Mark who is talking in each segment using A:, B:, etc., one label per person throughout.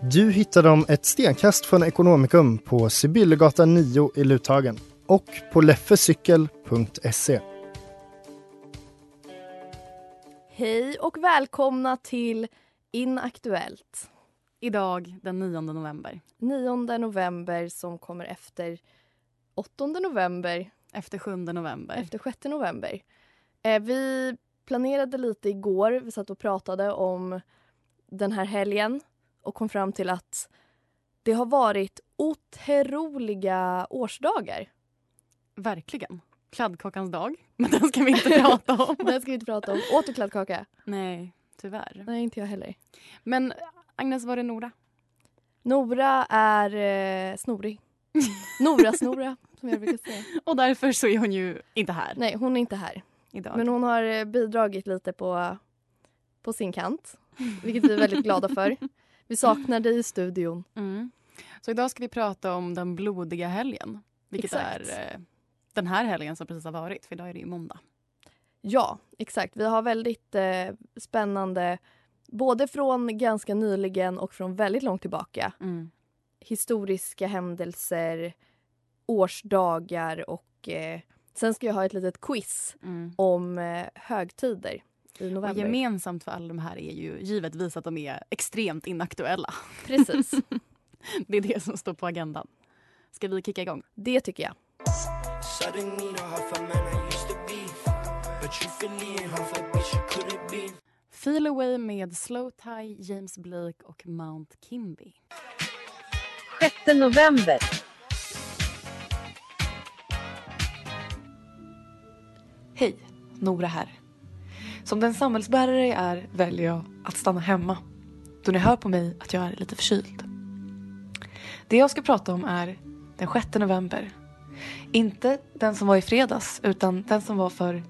A: Du hittar dem ett stenkast från Ekonomikum på Sibyllegatan 9 i Luthagen och på leffecykel.se.
B: Hej och välkomna till Inaktuellt.
C: Idag den 9 november.
B: 9 november som kommer efter 8 november,
C: Efter 7 november.
B: efter 6 november. Eh, vi planerade lite igår. Vi satt och pratade om den här helgen och kom fram till att det har varit otroliga årsdagar.
C: Verkligen. Kladdkakans dag. Men den ska vi inte prata om.
B: Det ska vi inte prata om. Åt du kladdkaka?
C: Nej, tyvärr.
B: Nej, inte jag heller.
C: Men Agnes, var det Nora?
B: Nora är eh, snorig. Nora-Snora, som jag brukar säga.
C: Och därför så är hon ju inte här
B: Nej, hon är inte här.
C: idag.
B: Men hon har eh, bidragit lite på, på sin kant, vilket vi är väldigt glada för. Vi saknar dig i studion.
C: Mm. Så idag ska vi prata om den blodiga helgen. Vilket
B: Exakt.
C: är eh, den här helgen som precis har varit. För idag är det ju måndag.
B: Ja, exakt. Vi har väldigt eh, spännande, både från ganska nyligen och från väldigt långt tillbaka, historiska händelser, årsdagar och eh, sen ska jag ha ett litet quiz
C: Mm.
B: om eh, högtider i
C: Och
B: november.
C: gemensamt för alla de här är ju givetvis att de är extremt inaktuella.
B: Precis,
C: Det är det som står på agendan. Ska vi kicka igång?
B: det tycker jag.
C: Feel Away med Slow Tie, James Blake och Mount Kimby.
D: 6 november.
E: Hej, Nora här. Som den samhällsbärare jag är väljer jag att stanna hemma då ni hör på mig att jag är lite förkyld. Det jag ska prata om är den 6 november. Inte den som var i fredags utan den som var för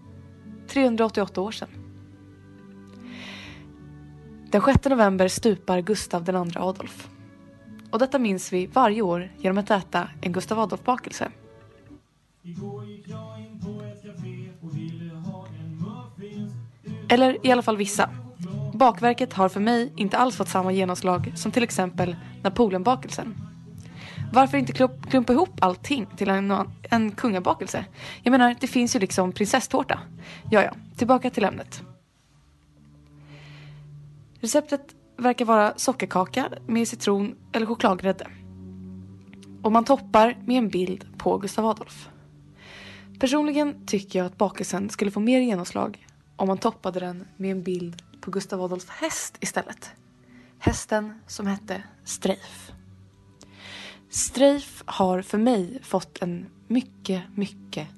E: 388 år sedan. Den 6 november stupar Gustav II Adolf. Och detta minns vi varje år genom att äta en Gustav Adolf-bakelse. Eller i alla fall vissa. Bakverket har för mig inte alls fått samma genomslag som till exempel Napoleonbakelsen. Varför inte klump- klumpa ihop allting till en, en kungabakelse? Jag menar, det finns ju liksom prinsesstårta. Ja, ja, tillbaka till ämnet. Receptet verkar vara sockerkaka med citron eller chokladgrädde. Och man toppar med en bild på Gustav Adolf. Personligen tycker jag att bakelsen skulle få mer genomslag om man toppade den med en bild på Gustav Adolfs häst istället. Hästen som hette Streif. Streif har för mig fått en mycket, mycket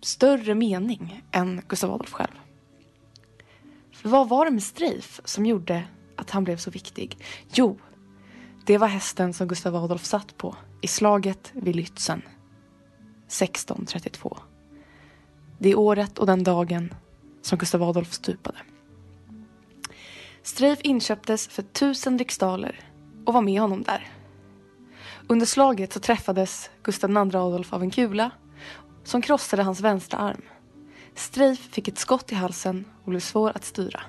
E: större mening än Gustav Adolf själv. För vad var det med Streif som gjorde att han blev så viktig? Jo, det var hästen som Gustav Adolf satt på i slaget vid Lützen 1632. Det är året och den dagen som Gustav Adolf stupade. Streif inköptes för tusen riksdaler och var med honom där. Under slaget så träffades Gustav II Adolf av en kula som krossade hans vänstra arm. Streif fick ett skott i halsen och blev svår att styra.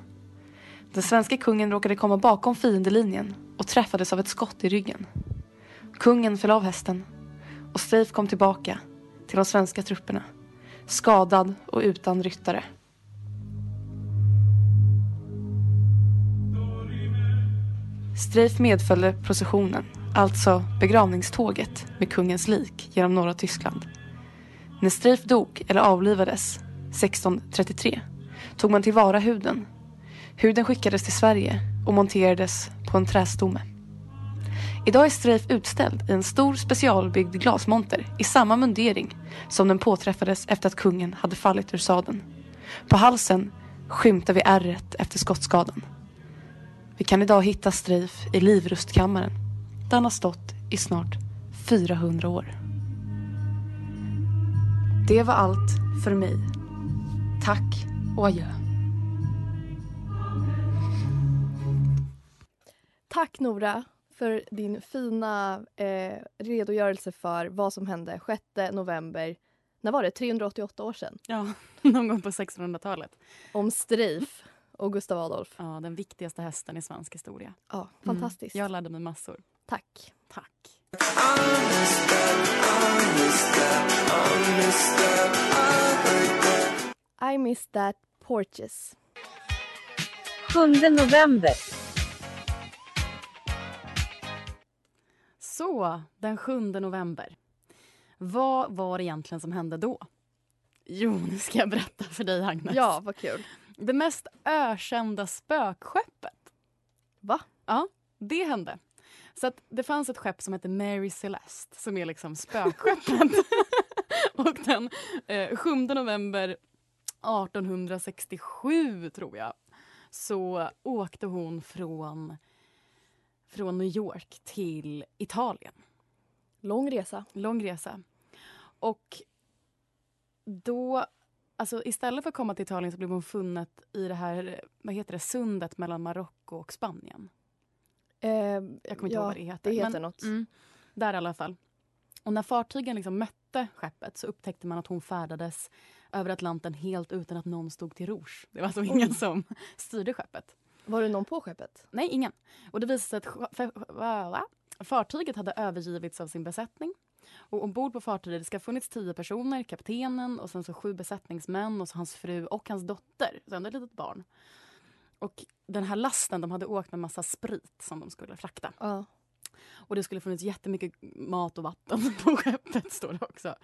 E: Den svenska kungen råkade komma bakom fiendelinjen och träffades av ett skott i ryggen. Kungen föll av hästen och Streif kom tillbaka till de svenska trupperna skadad och utan ryttare. Streif medföljde processionen
F: alltså begravningståget med kungens lik genom norra Tyskland. När Streif dog eller avlivades 1633 tog man tillvara huden. Huden skickades till Sverige och monterades på en trästomme. Idag är Streif utställd i en stor specialbyggd glasmonter i samma mundering som den påträffades efter att kungen hade fallit ur sadeln. På halsen skymtar vi ärret efter skottskadan. Vi kan idag hitta Streif i livrustkammaren där han har stått i snart 400 år. Det var allt för mig. Tack och adjö.
E: Tack Nora för din fina eh, redogörelse för vad som hände 6 november, när var det? 388 år sedan?
C: Ja, någon gång på 1600-talet.
E: Om Streif och Gustav Adolf.
C: Ja, den viktigaste hästen i svensk historia.
E: Ja, fantastiskt.
C: Mm, Jag lärde mig massor.
E: Tack.
C: Tack.
E: I miss that porches.
D: 7 november.
C: Så, den 7 november. Vad var det egentligen som hände då? Jo, nu ska jag berätta för dig, Agnes.
E: Ja, vad kul.
C: Det mest ökända spökskeppet.
E: Va?
C: Ja, det hände. Så att det fanns ett skepp som hette Mary Celeste som är liksom spökskeppet. och den eh, 7 november 1867, tror jag, så åkte hon från, från New York till Italien.
E: Lång resa.
C: Lång resa. Och då... Alltså istället för att komma till Italien så blev hon funnet i det här vad heter det, sundet mellan Marocko och Spanien.
E: Eh,
C: Jag kommer inte
E: ja,
C: ihåg vad det heter.
E: det heter
C: men-
E: något.
C: Mm, där i alla fall. Och när fartygen liksom mötte skeppet så upptäckte man att hon färdades över Atlanten helt utan att någon stod till rouge. Det var alltså ingen som styrde skeppet.
E: Var det någon på skeppet?
C: Nej, ingen. Och det visade sig att sj- fe- va- va? fartyget hade övergivits av sin besättning. Och ombord på fartyget ska ha funnits tio personer, kaptenen och sen så sju besättningsmän och så hans fru och hans dotter, så ändå ett litet barn. Och den här lasten, de hade åkt med massa sprit som de skulle frakta.
E: Ja.
C: Och det skulle funnits jättemycket mat och vatten på skeppet, står det också.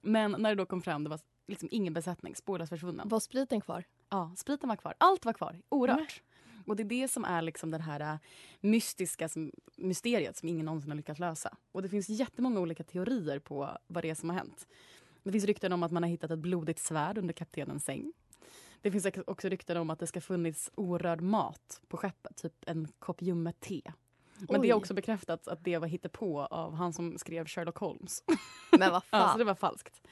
C: Men när det då kom fram, det var liksom ingen besättning, spårlöst försvunnen.
E: Var spriten kvar?
C: Ja, spriten var kvar. Allt var kvar, orört. Mm. Och det är det som är liksom den här äh, mystiska som, mysteriet som ingen någonsin har lyckats lösa. Och det finns jättemånga olika teorier på vad det är som har hänt. Det finns rykten om att man har hittat ett blodigt svärd under kaptenens säng. Det finns också rykten om att det ska funnits orörd mat på skeppet, typ en kopp ljummet te. Men det
E: Oj.
C: är också bekräftat att det var hittepå av han som skrev Sherlock Holmes.
E: Men vad
C: Ja, så Alltså, det
E: fan.
C: var falskt.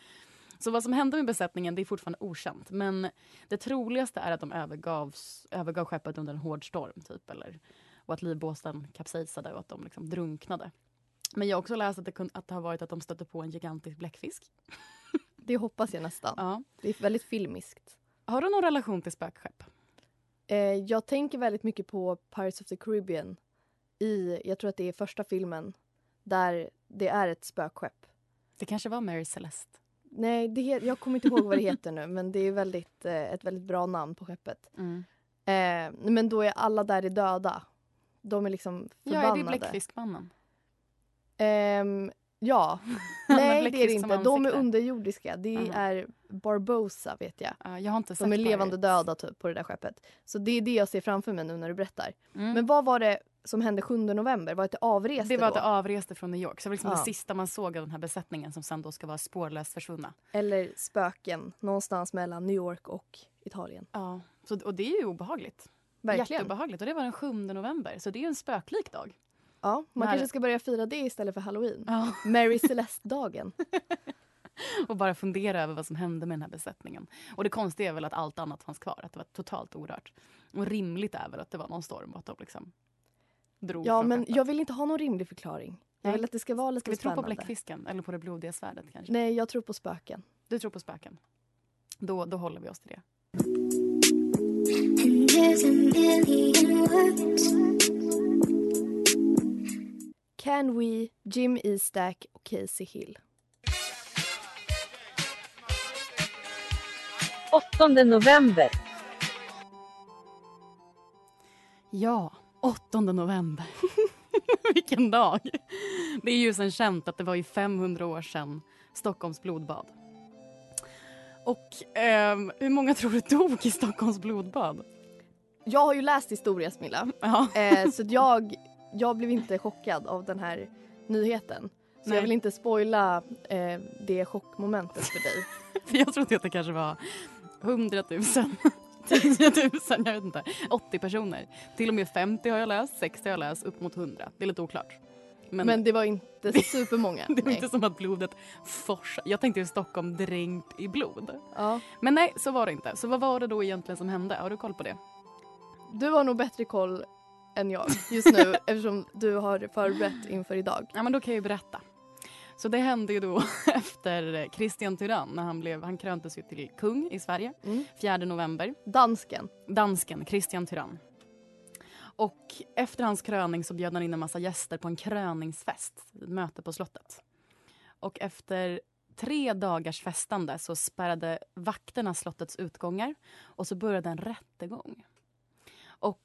C: Så vad som hände med besättningen det är fortfarande okänt. Men det troligaste är att de övergavs, övergav skeppet under en hård storm. Typ, eller, och att livbåten kapsejsade och att de liksom drunknade. Men jag har också läst att det, kun, att det har varit att de stötte på en gigantisk bläckfisk.
E: det hoppas jag nästan.
C: Ja.
E: Det är väldigt filmiskt.
C: Har du någon relation till spökskepp?
E: Eh, jag tänker väldigt mycket på Pirates of the Caribbean. I, jag tror att det är första filmen där det är ett spökskepp.
C: Det kanske var Mary Celeste.
E: Nej, det, he- jag kommer inte ihåg vad det heter nu men det är väldigt, eh, ett väldigt bra namn på skeppet.
C: Mm.
E: Eh, men då är alla där är döda. De är liksom
C: Ja, är
E: förbannade.
C: det Bläckfiskmannen?
E: Ehm, ja.
C: Han har
E: Nej, det är det
C: bläckfisk som
E: inte. De är
C: ansikte.
E: underjordiska. Det
C: Aha.
E: är Barbosa vet jag.
C: Ja, jag har inte sett
E: De är levande
C: Pirates.
E: döda typ, på det där skeppet. Så det är det jag ser framför mig nu när du berättar.
C: Mm.
E: Men vad var det som hände 7 november? Var det att det avreste
C: det var att
E: då?
C: det avreste från New York. Så det var liksom
E: Ja.
C: det sista man såg av den här besättningen som sen då ska vara spårlöst försvunna.
E: Eller spöken någonstans mellan New York och Italien.
C: Ja, så, och det är ju obehagligt.
E: Verkligen.
C: Jätteobehagligt. Och det var den 7 november, så det är ju en spöklik dag.
E: Ja, man
C: När-
E: kanske ska börja fira det istället för halloween.
C: Ja.
E: Mary Celeste-dagen.
C: Och bara fundera över vad som hände med den här besättningen. Och det konstiga är väl att allt annat fanns kvar, att det var totalt orört. Och rimligt är väl att det var någon storm och att de liksom drog
E: Ja,
C: från
E: men
C: skeppet.
E: jag vill inte ha någon rimlig förklaring. Jag
C: Nej.
E: vill att det ska vara lite
C: Ska vi tro
E: spännande.
C: på bläckfisken eller på det blodiga svärdet kanske?
E: Nej, jag tror på spöken.
C: Du tror på spöken? Då, då håller vi oss till det.
E: Can We, Jim Eastack och Casey Hill.
D: 8 november.
C: Ja, 8 november. Vilken dag! Det är ju sen känt att det var ju 500 år sedan Stockholms blodbad. Och ehm, hur många tror du dog i Stockholms blodbad?
E: Jag har ju läst historia Smilla. Eh, så att jag, jag blev inte chockad av den här nyheten. Så
C: Nej.
E: jag vill inte spoila eh, det chockmomentet för dig.
C: För jag trodde att det kanske var 100 000, 10 000, jag vet inte. 80 personer. Till och med 50 har jag läst, 60 har jag läst, upp mot 100. Det är lite oklart.
E: Men, det var inte supermånga.
C: Det var
E: nej.
C: inte som att blodet forsade. Jag tänkte ju Stockholm dränkt i blod.
E: Ja.
C: Men nej, så var det inte. Så vad var det då egentligen som hände? Har du koll på det?
E: Du har nog bättre koll än jag just nu eftersom du har förberett inför idag.
C: Ja, men då kan jag ju berätta. Så det hände ju då efter Christian Tyrann när han, blev, han kröntes ju till kung i Sverige 4 november.
E: Dansken.
C: Dansken Christian Tyrann. Och efter hans kröning så bjöd han in en massa gäster på en kröningsfest, ett möte på slottet. Och efter tre dagars festande så spärrade vakterna slottets utgångar och så började en rättegång. Och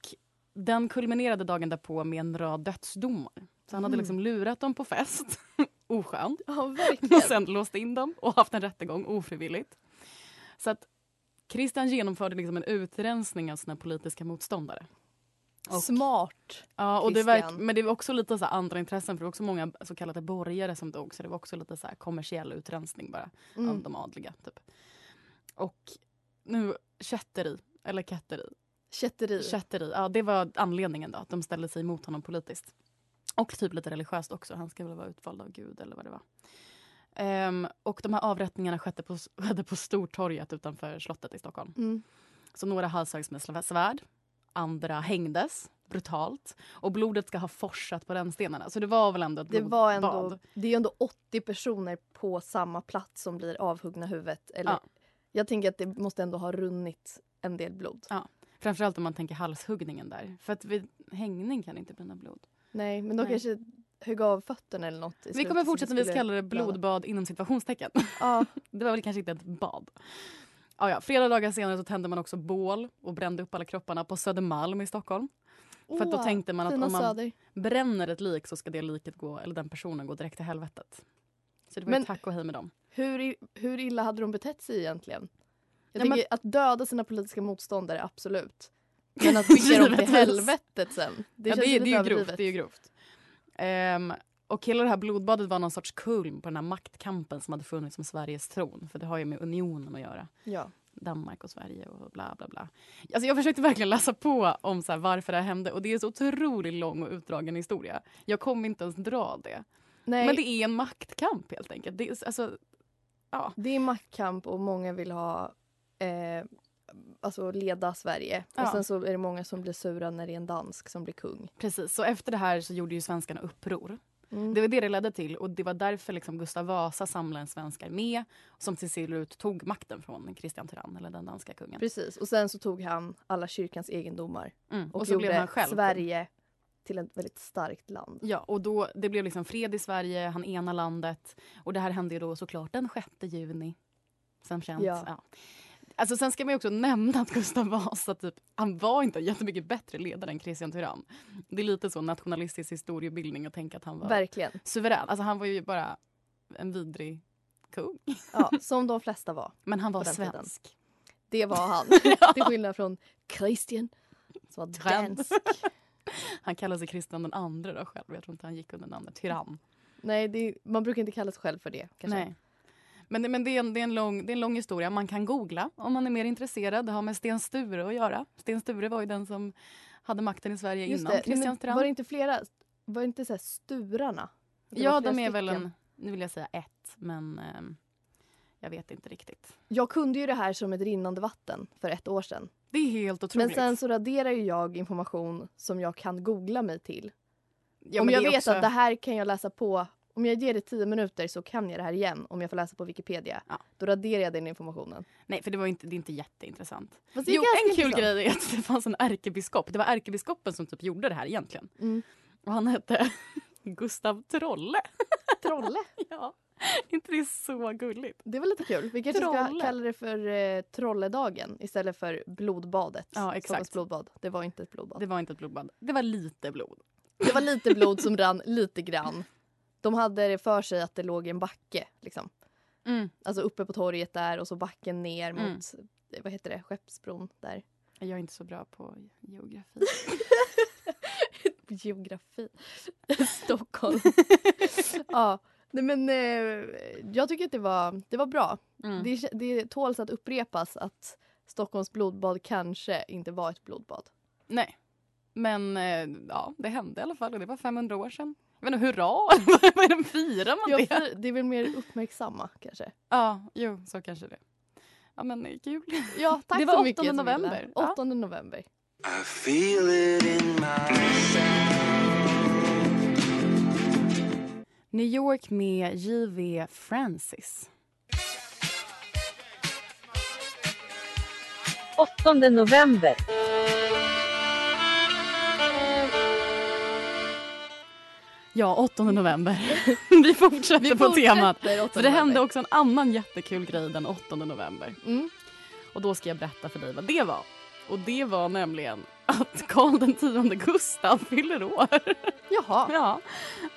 C: den kulminerade dagen därpå med en rad dödsdomar. Så han hade
E: Mm.
C: liksom lurat dem på fest, oskönt,
E: Ja,
C: och
E: verkligen.
C: sen låst in dem och haft en rättegång ofrivilligt. Så att Christian genomförde liksom en utrensning av sina politiska motståndare. Och-
E: Smart.
C: Ja, och det verk,
E: Christian.
C: men det var också lite så här andra intressen för det var också många så kallade borgare som dog så det var också lite så här kommersiell utrensning bara av
E: Mm.
C: de adliga. Typ. Och nu, kätteri, eller ketteri,
E: Kätteri.
C: kätteri, ja det var anledningen då att de ställde sig emot honom politiskt. Och typ lite religiöst också, han ska väl vara utvald av Gud eller vad det var. Ehm, och de här avrättningarna skedde på, skedde på Stortorget utanför slottet i Stockholm.
E: Mm.
C: Så några halshöggs med sv- svärd, andra hängdes brutalt och blodet ska ha forsat på rännstenarna. Så det var väl ändå ett
E: Det, var ändå,
C: blodbad.
E: det är ändå 80 personer på samma plats som blir avhuggna huvudet. Eller,
C: Ja.
E: Jag tänker att det måste ändå ha runnit en del blod.
C: Ja. Framförallt om man tänker halshuggningen där. För att vid hängning kan det inte brinna blod.
E: Nej, men de
C: Nej.
E: kanske högg av fötterna eller något. i
C: Vi
E: slutet
C: kommer
E: så
C: fortsätta med att
E: skulle
C: kalla det
E: blöda.
C: blodbad inom situationstecken.
E: Ja,
C: Det var väl kanske inte ett bad. Ja, ja. Flera dagar senare så tände man också bål och brände upp alla kropparna på Södermalm i Stockholm. För att då
E: Åh,
C: tänkte man att
E: fina
C: om man
E: söder.
C: bränner ett lik så ska det liket gå, eller den personen gå direkt till helvetet. Så det var ju
E: Men-
C: tack och hej med dem.
E: Hur, i- hur illa hade de betett sig egentligen? Jag
C: Nej, men-
E: tänker att döda sina politiska motståndare, absolut. Men att skicka dem till
C: Givetvis.
E: helvetet sen, det
C: ja,
E: känns
C: det, är-
E: lite
C: det är ju grovt.
E: överdrivet.
C: Det är ju grovt. Ehm, och hela det här blodbadet var någon sorts kulm på den här maktkampen som hade funnits om Sveriges tron. För det har ju med unionen att göra.
E: Ja.
C: Danmark och Sverige och bla bla bla. Alltså jag försökte verkligen läsa på om så här varför det här hände och det är så otroligt lång och utdragen historia. Jag kommer inte ens dra det.
E: Nej,
C: Men
E: det...
C: det är en maktkamp helt enkelt. Det är, alltså, ja.
E: är maktkamp och många vill ha eh, alltså leda Sverige.
C: Ja.
E: Och sen så är det många som blir sura när det är en dansk som blir kung.
C: Precis, så efter det här så gjorde ju svenskarna uppror.
E: Mm.
C: Det var det det ledde till och det var därför liksom Gustav Vasa samlade en svensk armé som till slut tog makten från Kristian Tyrann, eller den danska kungen.
E: Precis, och sen så tog han alla kyrkans egendomar
C: Mm.
E: och,
C: Och, så
E: gjorde
C: blev han själv
E: Sverige till ett väldigt starkt land.
C: Ja, och då, det blev liksom fred i Sverige, han ena landet. Och det här hände ju då såklart den 6 juni. Som känt.
E: Ja.
C: Ja. Alltså, sen ska man ju också nämna att Gustav Vasa typ, han var inte en jättemycket bättre ledare än Kristian Tyrann. Det är lite så nationalistisk historiebildning att tänka att han var
E: Verkligen,
C: suverän. Alltså, han var ju bara en vidrig kung.
E: ja, som de flesta var.
C: Men han var
E: På den tiden.
C: svensk.
E: Det var han. Till skillnad från Christian som var
C: Tyrann.
E: dansk.
C: Han kallade sig Kristian den andre då själv. Jag tror inte han gick under namnet tyrann.
E: Nej, det, är- man brukar inte kalla sig själv för det. Kanske.
C: Nej. Men, det- men det, är en, det, är en lång, det är en lång historia. Man kan googla om man är mer intresserad. Det har med Sten Sture att göra. Sten Sture var ju den som hade makten i Sverige
E: Just
C: innan
E: det. Nej,
C: Kristian
E: men
C: Tyrann.
E: var det inte flera, var det inte så här Sturarna? Att det
C: ja,
E: var flera
C: de är väl
E: stycken?
C: en... Nu vill jag säga ett, men ehm, jag vet inte riktigt.
E: Jag kunde ju det här som ett rinnande vatten för ett år sedan.
C: Det är helt otroligt.
E: Men sen så raderar ju jag information som jag kan googla mig till.
C: Ja,
E: om
C: men
E: jag
C: det är
E: vet
C: också-
E: att det här kan jag läsa på, om jag ger det tio minuter så kan jag det här igen om jag får läsa på Wikipedia.
C: Ja.
E: Då raderar jag den informationen.
C: Nej, för det, var inte, det är inte jätteintressant.
E: Fast det är
C: Jo,
E: ganska
C: en kul
E: intressant.
C: grej är att det fanns en ärkebiskop. Det var ärkebiskopen som typ gjorde det här egentligen.
E: Mm.
C: Och han hette Gustav Trolle.
E: Trolle,
C: Ja, inte det är så gulligt?
E: det var lite kul. Vi kanske ska
C: Trolle.
E: kalla det för eh, Trolledagen istället för blodbadet.
C: Ja, exakt.
E: Stockholms blodbad. Det var inte ett blodbad.
C: Det var inte ett blodbad. Det var lite blod.
E: Det var lite blod som rann, lite grann. De hade det för sig att det låg en backe. Liksom.
C: Mm.
E: Alltså uppe på torget där och så backen ner
C: Mm.
E: mot eh, vad heter det, Skeppsbron där.
C: Jag är inte så bra på geografi.
E: Geografi. Stockholm. ja. Nej, men, eh, jag tycker att det var, det var bra.
C: Mm.
E: Det, det tåls att upprepas att Stockholms blodbad kanske inte var ett blodbad.
C: Nej. Men eh, ja, det hände i alla fall och det var 500 år sedan. Jag vet inte, hurra! Vad- Vad är det, firar man
E: Jag,
C: det?
E: för- det är väl mer uppmärksamma kanske.
C: Ja, jo, så kanske det. Ja, men eh, kul.
E: Ja, tack
C: Det var
E: så mycket
C: 8
E: Sibylla.
C: november. Ja.
E: 8 november.
C: New York med J.V. Francis.
D: 8 november.
C: Ja, 8 november. Vi fortsätter på temat. För det hände också en annan jättekul grej den 8 november.
E: Mm.
C: Och då ska jag berätta för dig vad det var. Och det var nämligen att Karl den tionde Gustav fyller år.
E: Jaha.
C: Ja.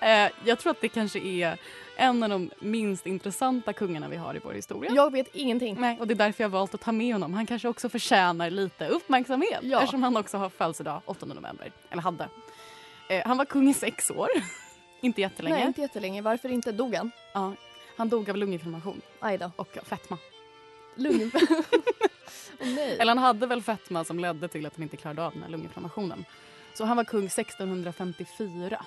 C: Eh, jag tror att det kanske är en av de minst intressanta kungarna vi har i vår historia.
E: Jag vet ingenting.
C: Nej, och det är därför jag har valt att ta med honom. Han kanske också förtjänar lite uppmärksamhet
E: Ja.
C: eftersom han också har födelsedag 8 november. Eller hade. Eh, han var kung i sex år. inte jättelänge.
E: Nej, inte jättelänge. Varför inte? Dog han?
C: Ja. Han dog av lunginflammation
E: Aj då.
C: och fetma.
E: Lugn. Åh nej.
C: Eller han hade väl fetma som ledde till att han inte klarade av den här lunginflammationen. Så han var kung 1654.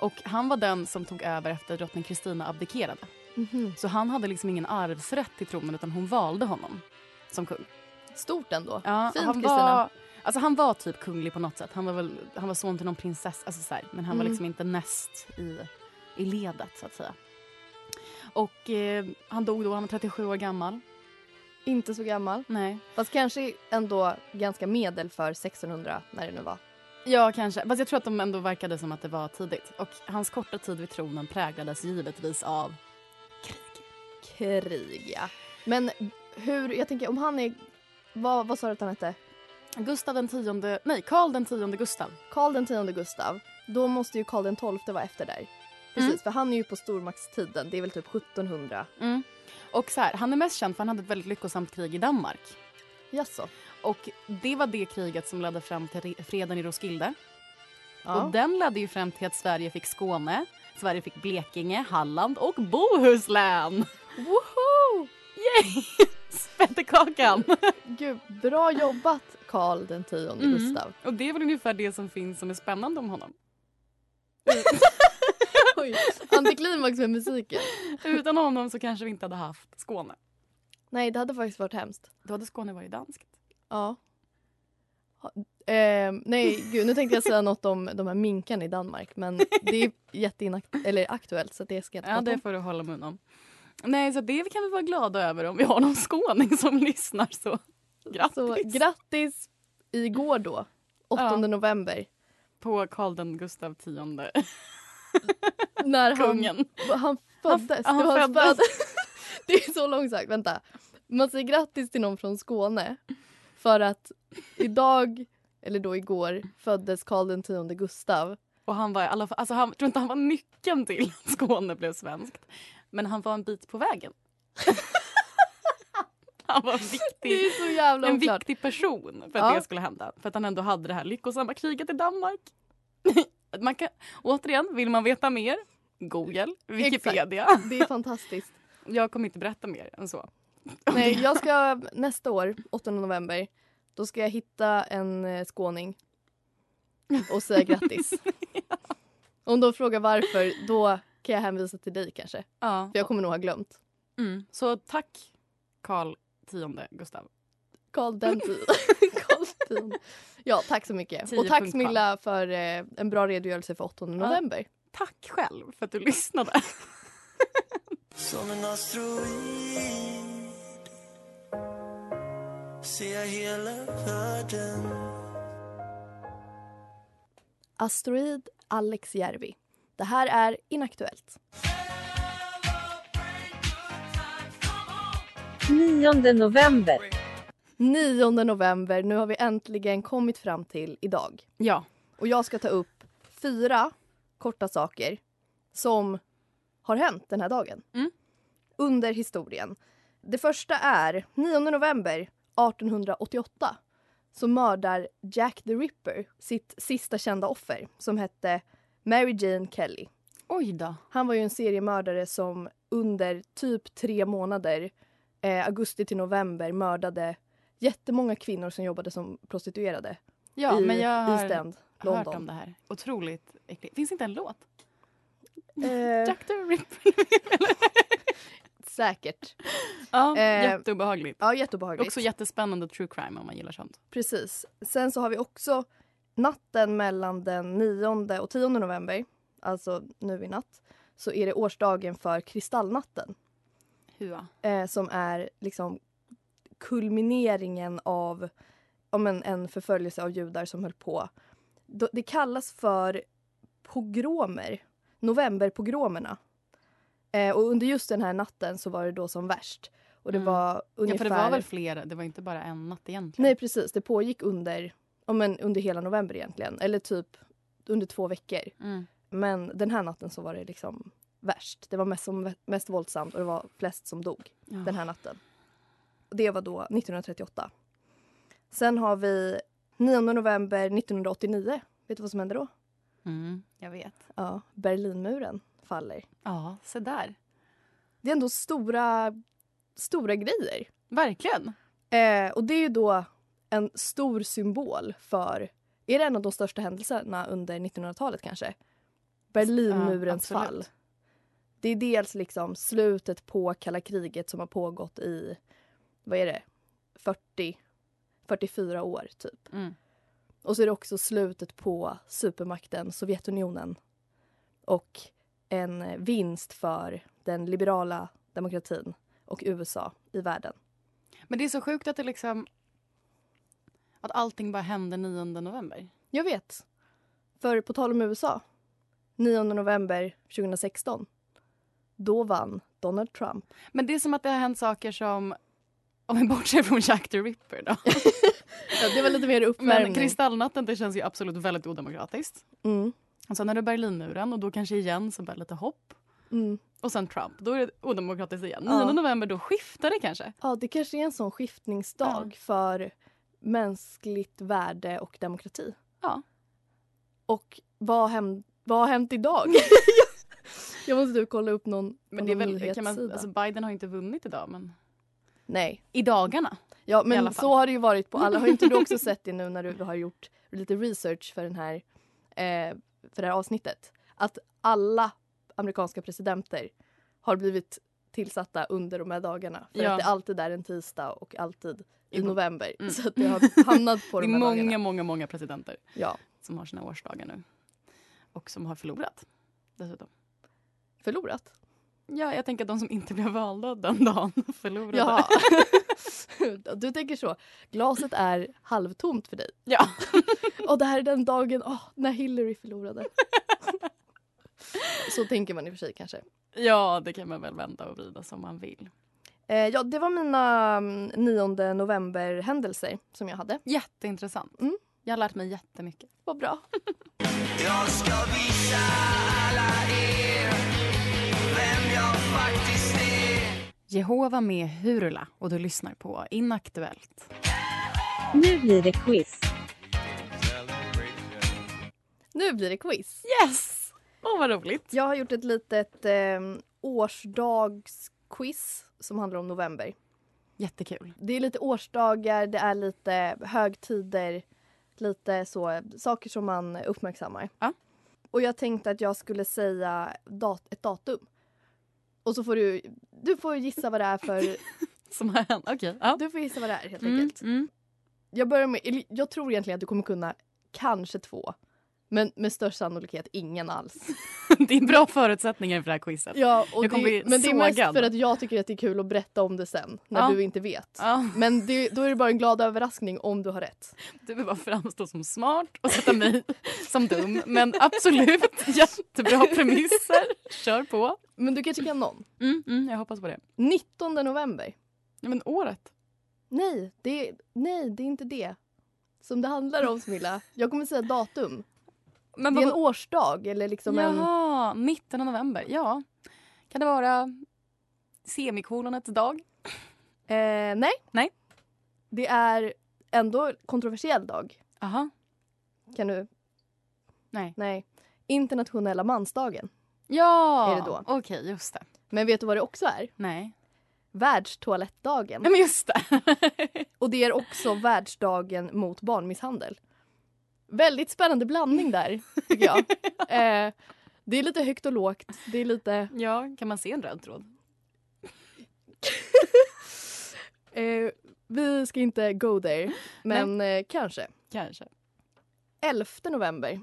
C: Och han var den som tog över efter drottning Kristina abdikerade.
E: Mhm.
C: Så han hade liksom ingen arvsrätt till tronen utan hon valde honom som kung.
E: Stort ändå.
C: Ja,
E: Fint,
C: han
E: Kristina.
C: var, alltså han var typ kunglig på något sätt. Han var, väl, han var son till någon prinsessa, alltså så här, men han var
E: Mm.
C: liksom inte näst i, i ledet så att säga. Och eh, han dog då, han var 37 år gammal.
E: Inte så gammal.
C: Nej.
E: Fast kanske ändå ganska medel för 1600 när det nu var.
C: Ja, kanske. Fast jag tror att de ändå verkade som att det var tidigt. Och hans korta tid vid tronen präglades givetvis av
E: Krig, ja. Men hur, jag tänker om han är, vad, vad sa du att han hette?
C: Gustav den tionde, nej, Karl den tionde Gustav.
E: Karl den tionde Gustav. Då måste ju Karl den tolfte vara efter där. Precis,
C: Mm.
E: för han är ju på stormaktstiden. Det är väl typ 1700.
C: Och så här, han är mest känd för han hade ett väldigt lyckosamt krig i Danmark.
E: Jaså?
C: Och det var det kriget som ledde fram till re- freden i Roskilde.
E: Ja.
C: Och den ledde ju fram till att Sverige fick Skåne, Sverige fick Blekinge, Halland och Bohuslän.
E: Woho!
C: Yay! Spettekakan!
E: Gud, bra jobbat Karl den tionde
C: Mm.
E: Gustav.
C: Och det är väl ungefär det som finns som är spännande om honom.
E: Oj, antiklimax med musiken.
C: Utan honom så kanske vi inte hade haft Skåne.
E: Nej, det hade faktiskt varit hemskt.
C: Då hade Skåne varit danskt.
E: Ja. Ha- Ehm, nej, gud, nu tänkte jag säga något om de här minkarna i Danmark men det är jätteinakt- eller aktuellt så det ska jag inte
C: Ja,
E: prata
C: det
E: om.
C: får du hålla mun om. Nej, så det kan vi vara glada över om vi har någon skåning som lyssnar så grattis
E: Så grattis igår då, 8
C: Ja.
E: november,
C: på Karl den Gustav tionde,
E: när han
C: kungen.
E: Han föddes.
C: han
E: det, var hans
C: föddes.
E: föd- det är så långsamt. Vänta. Man säger grattis till någon från Skåne för att idag, eller då igår, föddes Karl den tionde Gustav.
C: Och han var i alla fall, alltså han, jag tror inte han var nyckeln till att Skåne blev svenskt. Men han var en bit på vägen. han var en
E: Det är
C: viktig,
E: så jävla
C: en
E: oklart.
C: viktig person för att
E: Ja.
C: det skulle hända. För att han ändå hade det här lyckosamma kriget i Danmark. man kan, återigen, vill man veta mer? Google, Wikipedia.
E: Det är fantastiskt.
C: Jag kommer inte berätta mer än så.
E: Nej, jag ska nästa år, 8 november, då ska jag hitta en eh, skåning och säga grattis. Om de frågar varför, då kan jag hänvisa till dig kanske.
C: Ja.
E: För jag kommer nog ha glömt.
C: Mm. Så tack Karl tionde Gustav.
E: Carl Dentin. Carl Dentin. Ja, tack så mycket.
C: Tio
E: Och tack
C: punkt
E: Smilla för eh, en bra redogörelse för 8 november.
C: Tack själv för att du lyssnade.
G: Som en asteroid ser jag hela världen
E: Asteroid Alex Järvi. Det här är Inaktuellt.
D: 9 november.
E: 9 november, nu har vi äntligen kommit fram till idag.
C: Ja.
E: Och jag ska ta upp fyra korta saker som har hänt den här dagen
C: Mm.
E: under historien. Det första är 9 november 1888 så mördar Jack the Ripper sitt sista kända offer som hette Mary Jane Kelly.
C: Oj då.
E: Han var ju en seriemördare som under typ tre månader, eh, augusti till november, mördade jättemånga kvinnor som jobbade som prostituerade
C: Ja,
E: i
C: men jag har
E: East End, London.
C: hört om det här. Otroligt äckligt. Finns inte en låt?
E: Eh,
C: Jack the Ripper.
E: Säkert.
C: Ja,
E: Eh,
C: jätteobehagligt.
E: Ja, jätteobehagligt.
C: Också jättespännande true crime om man gillar sånt.
E: Precis. Sen så har vi också natten mellan den 9 och 10 november, alltså nu i natt, så är det årsdagen för Kristallnatten
C: Hua.
E: eh, som är liksom kulmineringen av om en, en förföljelse av judar som höll på. Då- Det kallas för pogromer, novemberpogromerna. Eh, och under just den här natten så var det då som värst. Och det var
C: Mm. Ja, för
E: ungefär...
C: det var väl flera, det var inte bara en natt egentligen.
E: Nej, precis. Det pågick under, ja, men under hela november egentligen. Eller typ under två veckor.
C: Mm.
E: Men den här natten så var det liksom värst. Det var mest, som, mest våldsamt och det var flest som dog
C: Ja.
E: den här natten. Det var då 1938. Sen har vi 9 november 1989. Vet du vad som hände då?
C: Mm, jag vet.
E: Ja, Berlinmuren faller.
C: Ja, se där.
E: Det är ändå stora, stora grejer.
C: Verkligen.
E: Eh, och det är ju då en stor symbol för... Är det en av de största händelserna under 1900-talet kanske? Berlinmurens
C: Ja, absolut.
E: fall. Det är dels liksom slutet på kalla kriget som har pågått i, vad är det, 40, 44 år typ.
C: Mm.
E: Och så är det också slutet på supermakten Sovjetunionen och en vinst för den liberala demokratin och USA i världen.
C: Men det är så sjukt att det liksom... Att allting bara hände 9 november.
E: Jag vet. För på tal om USA, 9 november 2016, då vann Donald Trump.
C: Men det är som att det har hänt saker som... Om vi bortser från Jack the Ripper då.
E: Ja, det var lite mer uppvärmning.
C: Men Kristallnatten, det känns ju absolut väldigt odemokratiskt.
E: Mm.
C: Och sen är det Berlinmuren och då kanske igen så bara lite hopp.
E: Mm.
C: Och sen Trump, då är det odemokratiskt igen. 9
E: Ja.
C: november, då skiftar det kanske.
E: Ja, det kanske är en sån skiftningsdag för mänskligt värde och demokrati.
C: Ja.
E: Och vad, hem, vad har hänt idag? jag måste du kolla upp någon,
C: Men
E: på
C: det är
E: någon
C: väl, kan man,
E: nyhetssida.
C: alltså Biden har ju inte vunnit idag men...
E: Nej.
C: I dagarna.
E: Ja,
C: i alla
E: men
C: fall.
E: så har det ju varit på alla. Har inte du också sett det nu när du har gjort lite research för, den här, eh, för det här avsnittet? Att alla amerikanska presidenter har blivit tillsatta under de här dagarna. För
C: Ja.
E: att det alltid är en tisdag och alltid i
C: I-
E: november.
C: Mm.
E: Så att det har hamnat på
C: det
E: de
C: är
E: här
C: många,
E: dagarna.
C: många, många presidenter
E: Ja.
C: som har sina årsdagar nu. Och som har förlorat dessutom.
E: Förlorat?
C: Ja, jag tänker att de som inte blev valda den dagen förlorade.
E: Jaha. du tänker så. Glaset är halvtomt för dig.
C: Ja.
E: Och det här är den dagen åh, när Hillary förlorade. så tänker man i och för sig kanske.
C: ja, det kan man väl vända och vrida som man vill.
E: Eh, ja, det var mina mm, 9 november-händelser som jag hade.
C: Jätteintressant.
E: Mm.
C: Jag har lärt mig jättemycket.
E: Vad bra.
G: Jag ska visa alla er vem jag faktiskt är
C: Jehova med Hurula och du lyssnar på Inaktuellt.
D: Nu blir det quiz.
E: Nu blir det quiz.
C: Yes! Åh, vad roligt.
E: Jag har gjort ett litet eh, årsdagsquiz som handlar om november.
C: Jättekul.
E: Det är lite årsdagar, det är lite högtider, lite så, saker som man uppmärksammar.
C: Ja.
E: Och jag tänkte att jag skulle säga dat- ett datum. Och så får du, du får gissa vad det är för...
C: Som har hänt. Okej. Ja.
E: Du får gissa vad det är helt
C: Mm,
E: enkelt.
C: mm.
E: Jag börjar med, eller jag tror egentligen att du kommer kunna kanske två. Men med störst sannolikhet ingen alls.
C: Det är bra förutsättningar för det här quizet.
E: Ja, och
C: Jag kommer
E: det,
C: bli
E: men det är mest
C: sågad.
E: för att jag tycker att det är kul att berätta om det sen. När
C: Ja.
E: du inte vet.
C: Ja.
E: Men det, då är det bara en glad överraskning om du har rätt.
C: Du vill bara framstå som smart och sätta mig som dum. Men absolut, jättebra premisser. Kör på.
E: Men du kan tycka någon.
C: Mm, mm, jag hoppas på det.
E: 19 november.
C: Ja, men året.
E: Nej det, nej, det är inte det som det handlar om Smilla. Jag kommer säga datum.
C: Men
E: det är en
C: vad-
E: årsdag eller liksom en...
C: Jaha, mitten av november. Ja. Kan det vara semikolonets dag?
E: Eh, nej.
C: Nej.
E: Det är ändå kontroversiell dag.
C: Aha.
E: Kan du?
C: Nej.
E: Nej. Internationella mansdagen.
C: Ja!
E: Är det då. Mm.
C: Okej, just det.
E: Men vet du vad det också är?
C: Nej.
E: Världstoalettdagen.
C: Nej, men just det.
E: Och det är också världsdagen mot barnmisshandel. Väldigt spännande blandning där, tycker jag. eh, det är lite högt och lågt. Det är lite...
C: Ja, kan man se en röd tråd?
E: Eh, vi ska inte go there, men eh, kanske.
C: Kanske.
E: 11 november.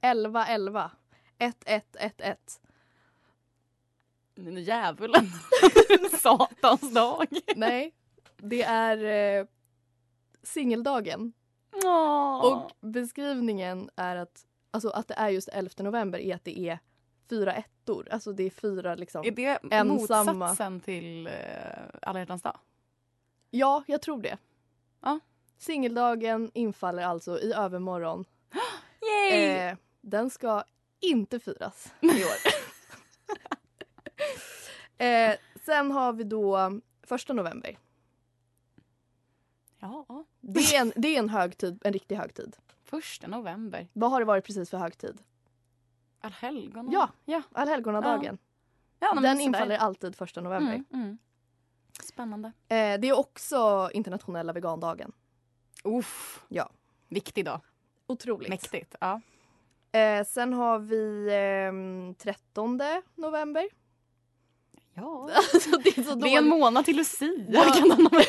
E: 11 11. 1 1 1 1.
C: Den djävulen. Satans dag.
E: Nej, det är eh, singeldagen.
C: Åh.
E: Och beskrivningen är att, alltså, att det är just 11 november är att det är fyra ettor. Alltså det är fyra liksom
C: Är det
E: ensamma.
C: motsatsen till eh, alla hjärtans dag?
E: Ja, jag tror det.
C: Ja.
E: Singeldagen infaller alltså i övermorgon.
C: Yay!
E: Eh, den ska inte firas i år. eh, sen har vi då första november.
C: Ja,
E: Det är, en, det är en högtid, en riktig högtid.
C: första november.
E: Vad har det varit precis för högtid?
C: Allhelgona.
E: Ja,
C: ja.
E: Allhelgonadagen.
C: Ja, men
E: den
C: sådär.
E: infaller alltid första november.
C: Mm, mm. Spännande.
E: Eh, det är också internationella vegandagen.
C: Uff.
E: Ja.
C: Viktig dag.
E: Otroligt.
C: Mäktigt. Ja.
E: Eh, sen har vi ehm, 13 november.
C: Ja.
E: Alltså, det är så
C: Det är en
E: dåligt.
C: månad till Lucia.
E: Ja.
C: Kan den ha...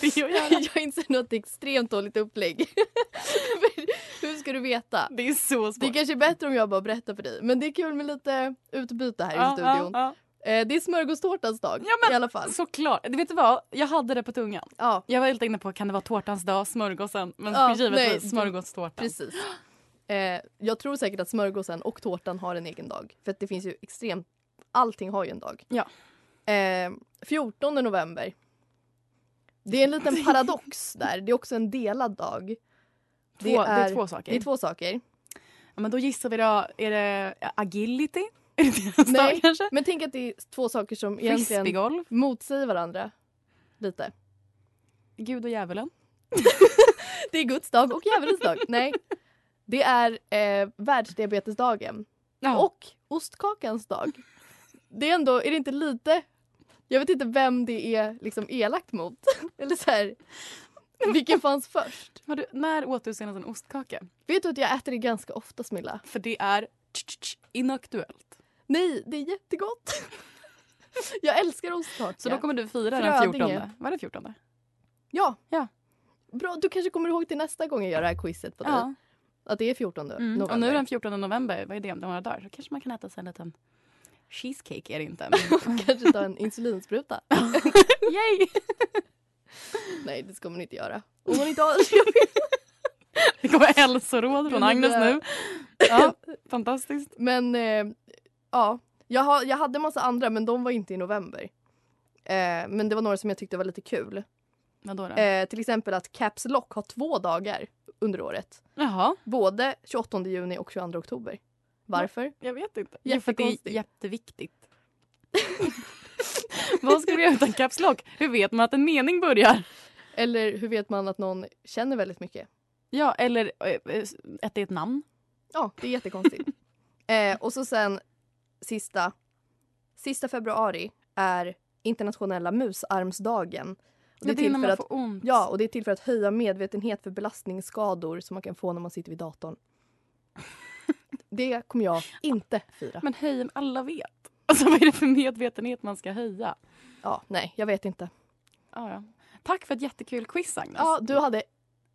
C: det gör jag.
E: jag inser nu att det är extremt dåligt upplägg. Men Hur ska du veta?
C: Det är så
E: Det är
C: svårt.
E: kanske är bättre om jag bara berättar för dig. Men det är kul med lite utbyte här i
C: Ja, ja,
E: studion.
C: ja.
E: Eh, det är smörgåstårtans dag
C: Ja, men
E: i alla fall.
C: Såklart. Du vet du vad? Jag hade det på tungan.
E: Ja,
C: Jag var helt inne på kan det vara tårtans dag, smörgåsen. Men
E: Ja, nej,
C: givetvis
E: det-
C: smörgåstårtan.
E: precis. Eh, jag tror säkert att smörgåsen och tårtan har en egen dag. För att det finns ju extremt... Allting har ju en dag.
C: Ja.
E: Eh, 14 november. Det är en liten paradox där. Det är också en delad dag.
C: Två, det, är, två saker.
E: Det är två saker.
C: Ja, men då gissar vi då, är det agility? Är det deras
E: Nej.
C: dag kanske?
E: Men tänk att det är två saker som egentligen
C: Frisbeegolf?
E: motsäger varandra. Lite.
C: Gud och djävulen?
E: Det är Guds dag och djävulens dag. Nej. Det är eh, världsdiabetesdagen.
C: Ja.
E: Och ostkakans dag. Det är ändå, är det inte lite... Jag vet inte vem det är liksom elakt mot. Eller så här, vilken fanns först?
C: Har du, när åt du senast en ostkaka?
E: Vet du att jag äter det ganska ofta Smilla?
C: För det är tch-tch-tch inaktuellt.
E: Nej, det är jättegott. Jag älskar ostkaka.
C: Så då kommer du fira den
E: Frödinge.
C: 14. Var det 14?
E: Ja.
C: Ja.
E: Bra, du kanske kommer ihåg till nästa gång jag gör det här quizet på dig.
C: Ja.
E: Att det är 14
C: Mm.
E: november.
C: Och nu är den 14 november, vad är det om några dagar? Så kanske man kan äta sig en liten cheesecake är det inte. men-
E: Kanske ta en insulinspruta.
C: Yay!
E: Nej, det ska man inte göra. Om man inte har...
C: Det kommer hälsoråd från
E: eh,
C: Agnes nu. Ja, fantastiskt.
E: Men eh, ja, jag, har, jag hade massa andra men de var inte i november. Eh, men det var några som jag tyckte var lite kul.
C: Vadå då?
E: Eh, till exempel att Caps Lock har två dagar under året.
C: Jaha,
E: Både 28 juni och 22 oktober. Varför?
C: jag vet inte. Jo, för att det är
E: Jättekonstigt.
C: jätteviktigt. Vad ska du göra utan caps lock? Hur vet man att en mening börjar?
E: Eller hur vet man att någon känner väldigt mycket?
C: Ja, eller eh, eh, att det är ett namn.
E: Ja, det är jättekonstigt. eh, och så sen sista. Sista februari är internationella musarmsdagen. Och
C: Det är, det är
E: till
C: när
E: för
C: man
E: att
C: får ont.
E: Ja, och det är till för att höja medvetenhet för belastningsskador som man kan få när man sitter vid datorn. Det kommer jag inte fira.
C: Men höj om alla vet. Alltså vad är det för medvetenhet man ska höja?
E: Ja, nej, jag vet inte.
C: Ja, ja. Tack för ett jättekul quiz Agnes.
E: Ja, du hade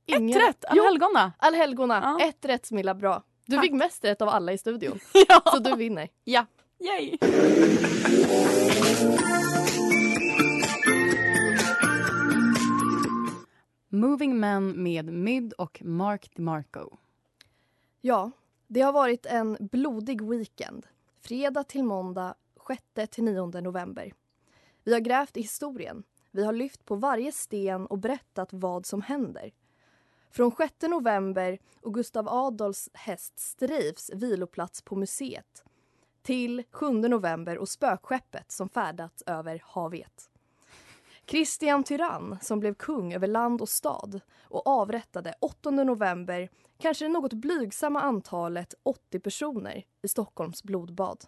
E: ingen...
C: Ett rätt!
E: Jo,
C: Allhelgona!
E: allhelgona.
C: Ja.
E: Ett rätt Smilla, bra. Du
C: Tack.
E: fick mest rätt av alla i studion.
C: Ja!
E: Så du vinner.
C: ja. Yay! Moving Men med Myd och Mark DeMarco.
E: Ja, det har varit en blodig weekend. Fredag till måndag, 6 till 9 november. Vi har grävt i historien. Vi har lyft på varje sten och berättat vad som händer. Från 6 november och Gustav Adolfs häst Strifs viloplats på museet till 7 november och spökskeppet som färdats över havet. Kristian Tyrann som blev kung över land och stad och avrättade 8 november kanske det något blygsamma antalet 80 personer i Stockholms blodbad.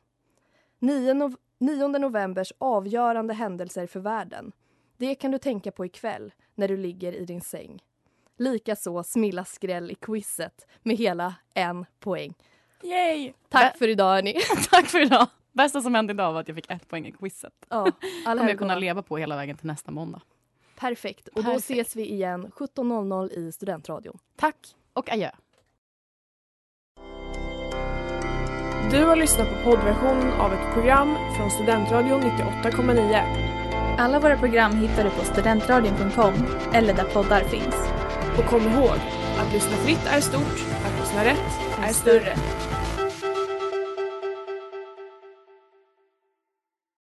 E: 9, nov- 9 novembers avgörande händelser för världen. Det kan du tänka på ikväll när du ligger i din säng. Likaså Smilla skräll i quizet med hela en poäng.
C: Yay!
E: Tack för idag hörni.
C: Tack för idag. Bästa som hände idag var att jag fick ett poäng i quizet.
E: Ja, alla
C: kommer jag kunna
E: helgona.
C: leva på hela vägen till nästa måndag.
E: Perfekt. Och då
C: Perfekt.
E: ses vi igen 17.00 i Studentradion.
C: Tack och adjö.
H: Du har lyssnat på poddversionen av ett program från Studentradion 98,9.
I: Alla våra program hittar du på studentradion.com eller där poddar finns.
H: Och kom ihåg, att lyssna fritt är stort, att lyssna rätt är större.